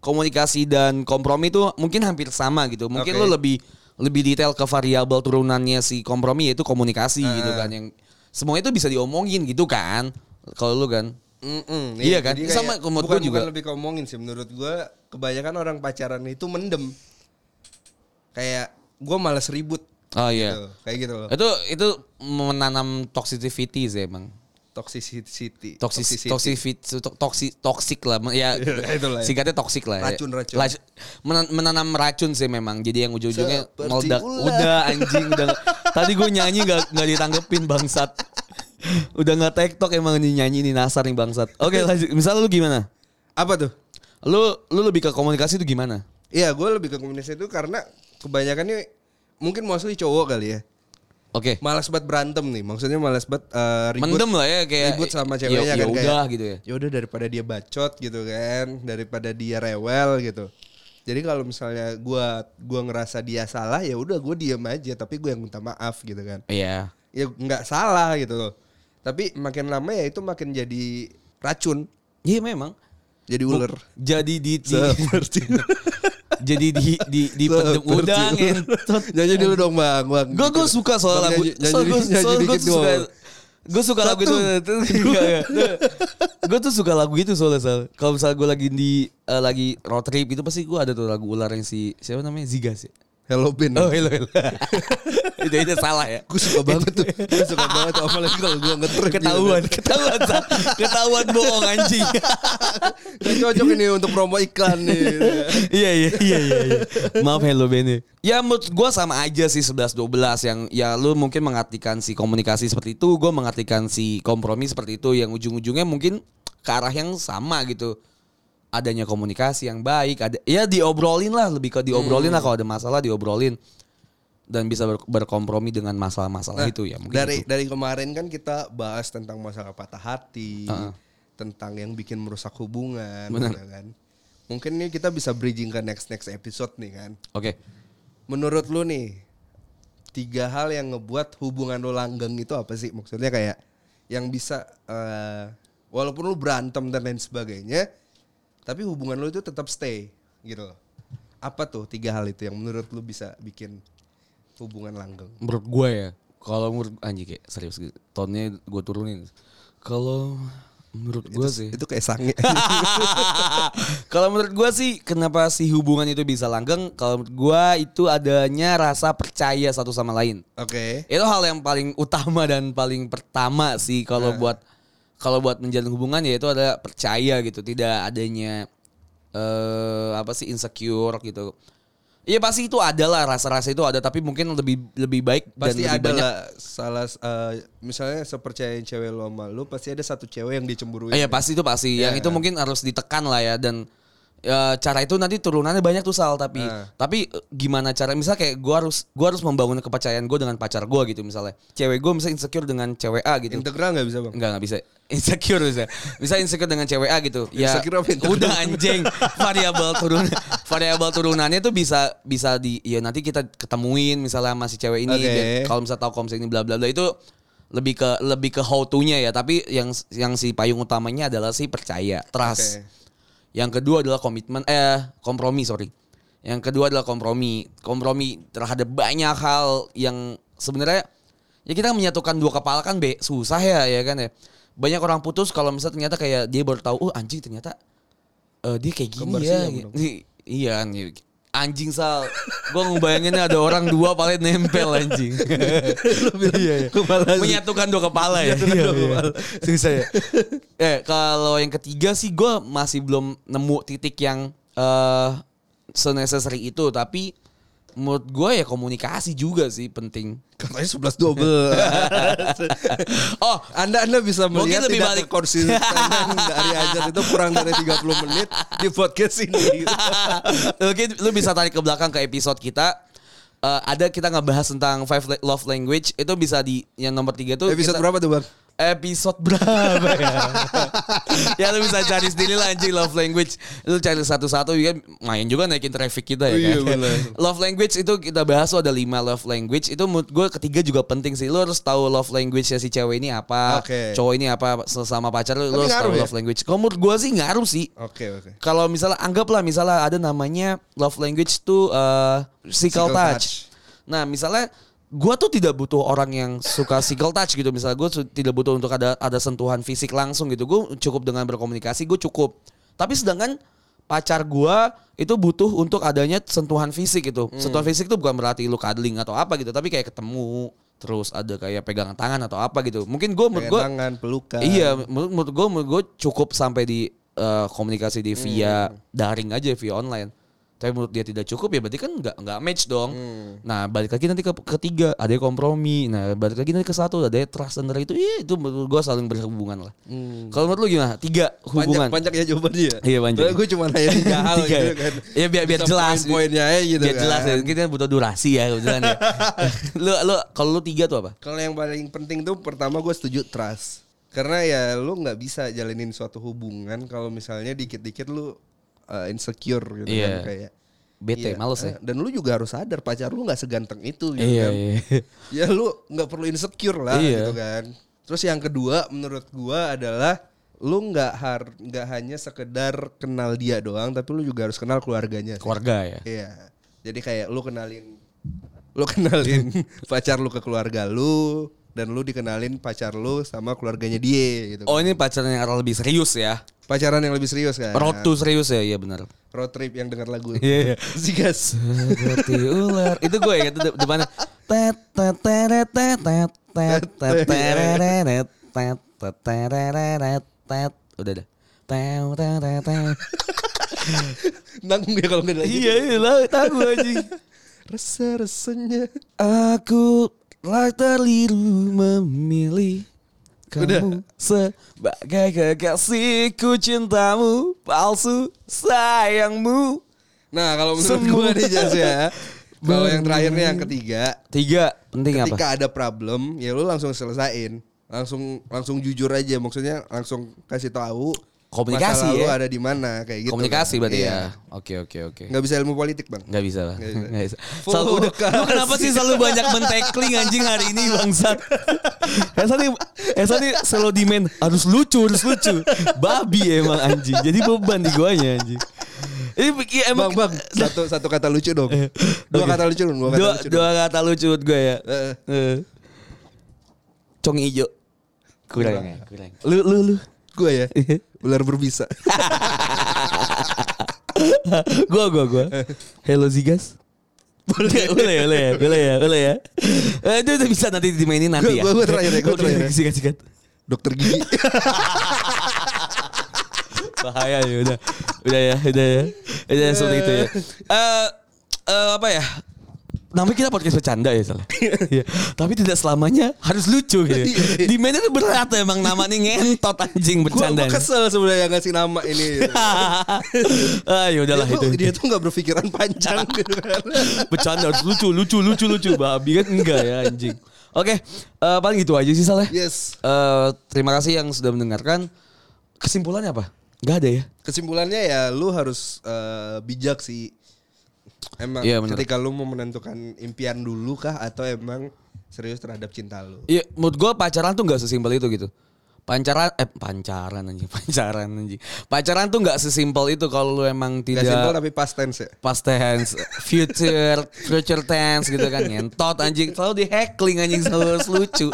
Speaker 3: komunikasi dan kompromi itu mungkin hampir sama gitu. Mungkin
Speaker 2: Oke.
Speaker 3: lo lebih lebih detail ke variabel turunannya si kompromi yaitu komunikasi gitu
Speaker 2: Ah.
Speaker 3: kan yang semua itu bisa diomongin gitu kan. Kalau lu kan
Speaker 2: Mm-mm, jadi
Speaker 3: Iya kan?
Speaker 2: kayak
Speaker 3: Sama ke menurut
Speaker 2: bukan,
Speaker 3: gua juga.
Speaker 2: bukan lebih ngomongin sih menurut gue kebanyakan orang pacaran itu mendem. Kayak gue malas ribut.
Speaker 3: Oh iya.
Speaker 2: Gitu, kayak gitu loh.
Speaker 3: Itu itu menanam toxicity sih emang.
Speaker 2: Toxicity.
Speaker 3: Toxic toxic toxic toxic lah ya
Speaker 2: Itulah ya.
Speaker 3: singkatnya toxic lah ya.
Speaker 2: Racun, racun.
Speaker 3: Lac- menan- menanam racun sih memang jadi yang ujung-ujungnya
Speaker 2: Seperti
Speaker 3: meledak
Speaker 2: ular.
Speaker 3: udah anjing udah nggak- tadi gue nyanyi nggak nggak ditanggepin bangsat udah nggak tiktok emang ini nyanyi ini nasar nih bangsat oke lanjut misalnya lu gimana
Speaker 2: Apa tuh?
Speaker 3: lu lu lebih ke komunikasi itu gimana
Speaker 2: Iya, gue lebih ke komunikasi itu karena kebanyakan nih mungkin mostly cowok kali ya.
Speaker 3: oke
Speaker 2: Malas banget berantem nih, maksudnya malas banget eh, ribut.
Speaker 3: mendem lah ya kayak
Speaker 2: ribut sama
Speaker 3: ya-
Speaker 2: ceweknya
Speaker 3: ya
Speaker 2: kan kayak-
Speaker 3: udah gitu ya
Speaker 2: Ya udah daripada dia bacot gitu kan, daripada dia rewel gitu. Jadi kalau misalnya gua gua ngerasa dia salah ya udah gue diam aja tapi gue yang minta maaf gitu kan.
Speaker 3: iya
Speaker 2: Ya nggak salah gitu loh. Tapi makin lama ya itu makin jadi racun.
Speaker 3: iya memang
Speaker 2: Jadi ular.
Speaker 3: Jadi di, di
Speaker 2: Seperti
Speaker 3: jadi di di di pendem
Speaker 2: Seperti
Speaker 3: udang
Speaker 2: ular.
Speaker 3: entot.
Speaker 2: Nyanyi dulu dong bang. bang.
Speaker 3: Gue gue suka
Speaker 2: Gitu.
Speaker 3: soal
Speaker 2: Bang,
Speaker 3: lagu.
Speaker 2: nyanyi- nyanyi
Speaker 3: Soal gue
Speaker 2: dikit- nyanyi
Speaker 3: soal gue
Speaker 2: dikit
Speaker 3: tuh suka.
Speaker 2: doang.
Speaker 3: Gue suka lagu itu. Gue tuh suka lagu itu soalnya soal. Kalau misalnya gue lagi di eh, lagi road trip itu pasti gue ada tuh lagu ular yang si siapa namanya Ziga sih.
Speaker 2: Hello Bin.
Speaker 3: Oh hello hello. itu itu salah ya.
Speaker 2: Gue Hmm. suka banget tuh. Gue suka banget tuh. Apalagi kalau gue ngetrip. kan.
Speaker 3: Ketahuan, ketahuan, Sal. ketahuan bohong anjing.
Speaker 2: Gak cocok ini untuk promo iklan nih.
Speaker 3: iya iya iya iya. iya. Maaf hello Benny. Ya menurut gue sama aja sih 11 12 yang ya lu mungkin mengartikan si komunikasi seperti itu, gue mengartikan si kompromi seperti itu yang ujung-ujungnya mungkin ke arah yang sama gitu. Adanya komunikasi yang baik, ada ya diobrolin lah lebih ke diobrolin lah kalau ada masalah diobrolin dan bisa ber- berkompromi dengan masalah-masalah itu ya mungkin
Speaker 2: Nah, dari
Speaker 3: itu.
Speaker 2: dari kemarin kan kita bahas tentang masalah patah hati,
Speaker 3: Heeh.
Speaker 2: tentang yang bikin merusak hubungan,
Speaker 3: Benar.
Speaker 2: gitu kan. Mungkin nih kita bisa bridging ke next next episode nih kan.
Speaker 3: Oke.
Speaker 2: Menurut lu nih tiga hal yang ngebuat hubungan lu langgeng itu apa sih? Maksudnya kayak yang bisa eh, walaupun lu berantem dan lain sebagainya, tapi hubungan lu itu tetap stay gitu loh. Apa tuh tiga hal itu yang menurut lu bisa bikin hubungan langgeng?
Speaker 3: menurut gue ya kalau menurut anjing kayak serius gitu tonnya gue turunin kalau menurut gue sih
Speaker 2: Itu kayak sange.
Speaker 3: kalau menurut gue sih kenapa si hubungan itu bisa langgeng kalau menurut gue itu adanya rasa percaya satu sama lain
Speaker 2: Oke.
Speaker 3: itu hal yang paling utama dan paling pertama sih
Speaker 2: Nah.
Speaker 3: kalau buat kalau buat menjalin hubungan yaitu ada percaya gitu tidak adanya eh apa sih insecure gitu Iya pasti itu adalah rasa-rasa itu ada tapi mungkin lebih lebih baik
Speaker 2: Pasti
Speaker 3: dan lebih
Speaker 2: ada
Speaker 3: banyak
Speaker 2: lah salah eh, misalnya sepercayaan cewek lo sama lu pasti ada satu cewek yang dicemburuin.
Speaker 3: Iya pasti itu pasti. Yang itu mungkin harus ditekan lah ya dan ya, cara itu nanti turunannya banyak tuh sal tapi tapi eh, gimana cara misal kayak gua harus gua harus membangun kepercayaan gua dengan pacar gua gitu misalnya. Cewek gua misalnya insecure dengan cewek A gitu.
Speaker 2: Integral nggak bisa bang?
Speaker 3: Enggak enggak bisa. Insecure bisa. Bisa insecure dengan cewek A gitu. Ya
Speaker 2: Insecure apa integral?
Speaker 3: udah anjing. Variabel turun variabel turunannya tuh bisa bisa di ya nanti kita ketemuin misalnya sama si cewek ini
Speaker 2: Oke.
Speaker 3: biar kalau misalnya tahu komsek ini bla bla bla itu lebih ke lebih ke how to-nya ya, tapi yang yang si payung utamanya adalah si percaya, trust.
Speaker 2: Oke.
Speaker 3: Yang kedua adalah komitmen eh kompromi, sorry. Yang kedua adalah kompromi. Kompromi terhadap banyak hal yang sebenarnya ya kita menyatukan dua kepala kan be susah ya ya kan ya. Banyak orang putus kalau misalnya ternyata kayak dia baru tahu, oh anjing ternyata eh, dia kayak gini
Speaker 2: Kembar
Speaker 3: ya.
Speaker 2: siam
Speaker 3: gitu.
Speaker 2: dong.
Speaker 3: I- Iya nih. Anjing sal, gue ngebayanginnya ada orang dua paling nempel anjing. iya, iya.
Speaker 2: Kepala-
Speaker 3: Menyatukan dua kepala ya. Iya, iya. Susah ya. eh kalau yang ketiga sih gue masih belum nemu titik yang eh senecessary itu tapi menurut gue ya komunikasi juga sih penting.
Speaker 2: Katanya 11 12.
Speaker 3: Oh
Speaker 2: Anda Anda bisa
Speaker 3: Mungkin
Speaker 2: melihat
Speaker 3: lebih
Speaker 2: tidak
Speaker 3: balik.
Speaker 2: konsistenan dari ajar itu kurang dari 30 menit di podcast ini.
Speaker 3: Oke, lu bisa tarik ke belakang ke episode kita. Eh, ada kita ngebahas tentang five la- love language itu bisa di yang nomor tiga tuh
Speaker 2: Episode
Speaker 3: kita-
Speaker 2: berapa tuh, Bang?
Speaker 3: episode berapa ya? ya lu bisa cari sendiri lah anjing love language. Lu cari satu-satu juga main juga naikin traffic kita ya
Speaker 2: Iya,
Speaker 3: kan.
Speaker 2: bener.
Speaker 3: love language itu kita bahas tuh ada lima love language itu menurut gue ketiga juga penting sih. Lu harus tahu love language si cewek ini apa,
Speaker 2: Oke.
Speaker 3: cowok ini apa sesama pacar lu,
Speaker 2: Tapi
Speaker 3: lu harus tahu
Speaker 2: ngaruh ya?
Speaker 3: love language. Kalau menurut gue sih ngaruh sih
Speaker 2: Oke, oke.
Speaker 3: kalau misalnya anggaplah misalnya ada namanya love language tuh eh physical
Speaker 2: Physical
Speaker 3: touch. Nah, misalnya gua tuh tidak butuh orang yang suka physical touch gitu. Misalnya gua su- tidak butuh untuk ada ada sentuhan fisik langsung gitu. Gue cukup dengan berkomunikasi, gue cukup. Tapi sedangkan pacar gua itu butuh untuk adanya sentuhan fisik gitu. Sentuhan fisik itu bukan berarti lu cuddling atau apa gitu, tapi kayak ketemu terus ada kayak pegangan tangan atau apa gitu. Mungkin gue
Speaker 2: Pegangan
Speaker 3: menurut gue
Speaker 2: tangan, pelukan.
Speaker 3: Iya, menurut, menurut gue, menurut gue cukup sampai di eh, komunikasi
Speaker 2: Hmm.
Speaker 3: di via daring aja, via online. Tapi menurut dia tidak cukup ya berarti kan nggak nggak match dong.
Speaker 2: Hmm.
Speaker 3: Nah balik lagi nanti ke ketiga ada kompromi. Nah balik lagi nanti ke satu ada trust and itu. Iya itu menurut gue saling berhubungan lah. Kalau menurut lu gimana? Tiga hubungan.
Speaker 2: Hmm. Panjang, panjang ya jawabannya.
Speaker 3: Iya, panjang.
Speaker 2: Gue cuma nanya tiga hal
Speaker 3: Tiga
Speaker 2: gitu
Speaker 3: ya.
Speaker 2: kan.
Speaker 3: Iya, biar- biar
Speaker 2: Bisa
Speaker 3: jelas.
Speaker 2: Poin-poinnya aja gitu
Speaker 3: Biar
Speaker 2: kan.
Speaker 3: jelas ya. Kita butuh durasi ya kebetulan ya. lu lu kalau lu tiga tuh apa?
Speaker 2: Kalau yang paling penting tuh pertama gue setuju trust. Karena ya lu nggak bisa jalanin suatu hubungan kalau misalnya dikit-dikit lu uh, insecure gitu kan
Speaker 3: Iya.
Speaker 2: kayak.
Speaker 3: Bete,
Speaker 2: Iya,
Speaker 3: males
Speaker 2: eh,
Speaker 3: ya.
Speaker 2: Dan lu juga harus sadar pacar lu nggak seganteng itu gitu
Speaker 3: Iya
Speaker 2: kan.
Speaker 3: iya.
Speaker 2: Ya lu nggak perlu insecure lah
Speaker 3: Iya.
Speaker 2: gitu kan. Terus yang kedua menurut gua adalah lu nggak har nggak hanya sekedar kenal dia doang tapi lu juga harus kenal keluarganya sih.
Speaker 3: keluarga ya
Speaker 2: Iya. Jadi kayak lu kenalin lu kenalin pacar lu ke keluarga lu dan lu dikenalin pacar lu sama keluarganya dia gitu.
Speaker 3: oh ini pacarnya yang arah lebih serius ya
Speaker 2: Pacaran yang lebih serius kan.
Speaker 3: road to serius ya iya benar
Speaker 2: Road trip yang denger lagu.
Speaker 3: Iya, iya.
Speaker 2: Zigas.
Speaker 3: seperti ular itu gue ya itu depannya tet tet teret, tet tet tet tet tereret, tet tet tereret, tet udah dah Teu, teu, teu, teu.
Speaker 2: Nanggung dia kalau nggak ada lagi.
Speaker 3: iya iya lah tahu aja
Speaker 2: Rese-resenya.
Speaker 3: Aku telah terliru memilih kamu sebagai kekasihku cintamu palsu sayangmu.
Speaker 2: Nah, kalau menurut gue nih Jas ya. Kalau yang terakhir nih
Speaker 3: Hmm.
Speaker 2: yang ketiga,
Speaker 3: Tiga penting apa?
Speaker 2: ketika ada problem, ya lu langsung selesain. Langsung langsung jujur aja, maksudnya langsung kasih tahu
Speaker 3: Komunikasi
Speaker 2: masalah lu
Speaker 3: ya?
Speaker 2: ada di mana kayak gitu.
Speaker 3: Komunikasi
Speaker 2: kan.
Speaker 3: berarti
Speaker 2: Iya.
Speaker 3: ya. Oke oke oke.
Speaker 2: Nggak bisa ilmu politik bang
Speaker 3: Gak bisa lah.
Speaker 2: Nggak bisa.
Speaker 3: Nggak bisa. Selalu udah, lu kenapa sih selalu banyak mentekling anjing hari ini bangsat? Esa nih, Esa nih selalu demand harus lucu, harus lucu. Babi emang anjing. Jadi beban di guanya anjing. Ini iya,
Speaker 2: Bang
Speaker 3: emang
Speaker 2: bang Satu satu kata lucu dong Dua
Speaker 3: Oke.
Speaker 2: kata lucu dong Dua kata
Speaker 3: dua,
Speaker 2: lucu dong
Speaker 3: dua kata lucu buat gue ya.
Speaker 2: Eh.
Speaker 3: Eh. Cong ijo. Kurang ya, kurang. Lu lu lu.
Speaker 2: Gue ya Ular berbisa
Speaker 3: gua gua gua. Hello Zigas. Boleh, boleh, boleh ya, boleh ya, boleh ya. Eh, Itu itu bisa nanti dimainin nanti ya.
Speaker 2: Gua- gua terakhir ya, gua
Speaker 3: Oke,
Speaker 2: terakhir ya.
Speaker 3: Sikat, sikat.
Speaker 2: Dokter gigi
Speaker 3: Bahaya ya, udah. Udah ya, udah ya. Udah ya, seperti itu ya. Eh, eh, apa ya? Namanya kita podcast bercanda ya salah. Iya. Tapi tidak selamanya harus lucu gitu.
Speaker 2: Iya.
Speaker 3: Di mainnya tuh berat emang namanya ngentot anjing
Speaker 2: Gue
Speaker 3: bercanda.
Speaker 2: kesel sebenarnya ngasih nama ini
Speaker 3: Ayo Ah, ya udahlah
Speaker 2: dia,
Speaker 3: itu.
Speaker 2: tuh, dia tuh nggak berpikiran panjang gitu kan.
Speaker 3: bercanda harus lucu lucu lucu lucu babi kan enggak ya anjing oke eh, paling gitu aja sih salah
Speaker 2: Yes
Speaker 3: Eh, terima kasih yang sudah mendengarkan kesimpulannya apa nggak ada ya
Speaker 2: Kesimpulannya ya Lu harus eh, bijak sih Emang
Speaker 3: Iya, bener.
Speaker 2: ketika lu mau menentukan impian dulu kah Atau emang serius terhadap cinta lu
Speaker 3: Iya, menurut gue pacaran tuh nggak sesimpel itu gitu. Pacaran, eh pancaran anjing, pancaran anjing. Pacaran tuh nggak sesimpel itu kalau lu emang
Speaker 2: Gak simpel
Speaker 3: tidak
Speaker 2: tapi past tense ya
Speaker 3: past tense, future, future tense gitu kan. Ngentot anjing, selalu di heckling anjing selalu harus lucu.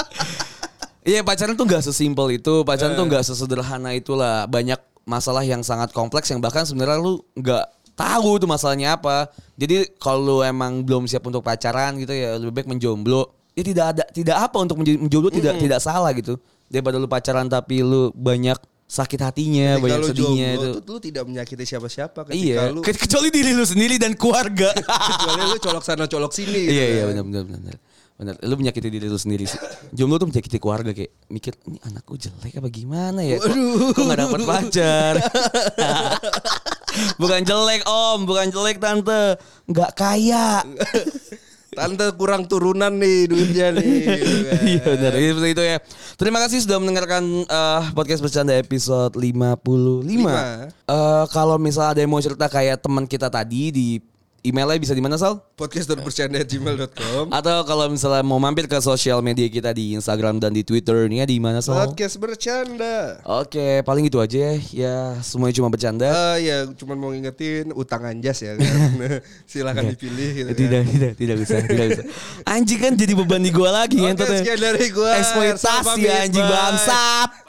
Speaker 3: Iya pacaran tuh nggak sesimpel itu, pacaran
Speaker 2: Eh.
Speaker 3: tuh nggak sesederhana itulah. Banyak masalah yang sangat kompleks yang bahkan sebenarnya lu nggak tahu tuh masalahnya apa. Jadi kalau lu emang belum siap untuk pacaran gitu ya lebih baik menjomblo. Ya tidak ada tidak apa untuk menjadi- menjomblo tidak tidak salah gitu. Daripada lu pacaran tapi lu banyak sakit hatinya,
Speaker 2: Ketika
Speaker 3: Iya, banyak
Speaker 2: lu
Speaker 3: sedihnya
Speaker 2: jomblo
Speaker 3: itu.
Speaker 2: tuh, Lu tidak menyakiti siapa-siapa Ketika
Speaker 3: Iya,
Speaker 2: lu
Speaker 3: ke- kecuali diri lu sendiri dan keluarga.
Speaker 2: kecuali lu colok sana colok sini gitu
Speaker 3: Iya iya
Speaker 2: kan.
Speaker 3: benar benar benar. Benar, lu menyakiti diri lu sendiri sih. Jomblo tuh menyakiti keluarga kayak mikir ini anakku jelek apa gimana ya? Kok, kok gak dapat pacar? bukan jelek om, bukan jelek tante, nggak kaya.
Speaker 2: tante kurang turunan nih duitnya nih gitu kan.
Speaker 3: Iya benar, Iya, seperti itu ya. Terima kasih sudah mendengarkan eh, podcast bercanda episode 55.
Speaker 2: Lima.
Speaker 3: Eh, kalau misalnya ada yang mau cerita kayak teman kita tadi di emailnya bisa di mana Sal?
Speaker 2: podcast bercanda@gmail.com
Speaker 3: Atau kalau misalnya mau mampir ke sosial media kita di Instagram dan di Twitter nih ya di mana Sol?
Speaker 2: podcast bercanda
Speaker 3: Oke, paling gitu aja ya. Ya, semuanya cuma bercanda.
Speaker 2: Eh ya cuman mau ngingetin utang anjas ya kan. silakan dipilih gitu kan.
Speaker 3: Iya. Eh, tidak, tidak, tidak bisa, tidak bisa. Anjing kan jadi beban di gua lagi
Speaker 2: Oke,
Speaker 3: ngentot ya.
Speaker 2: sekian dari gua.
Speaker 3: Eksploitasi
Speaker 2: Sampai pamit,
Speaker 3: anjing
Speaker 2: bye.
Speaker 3: bangsat.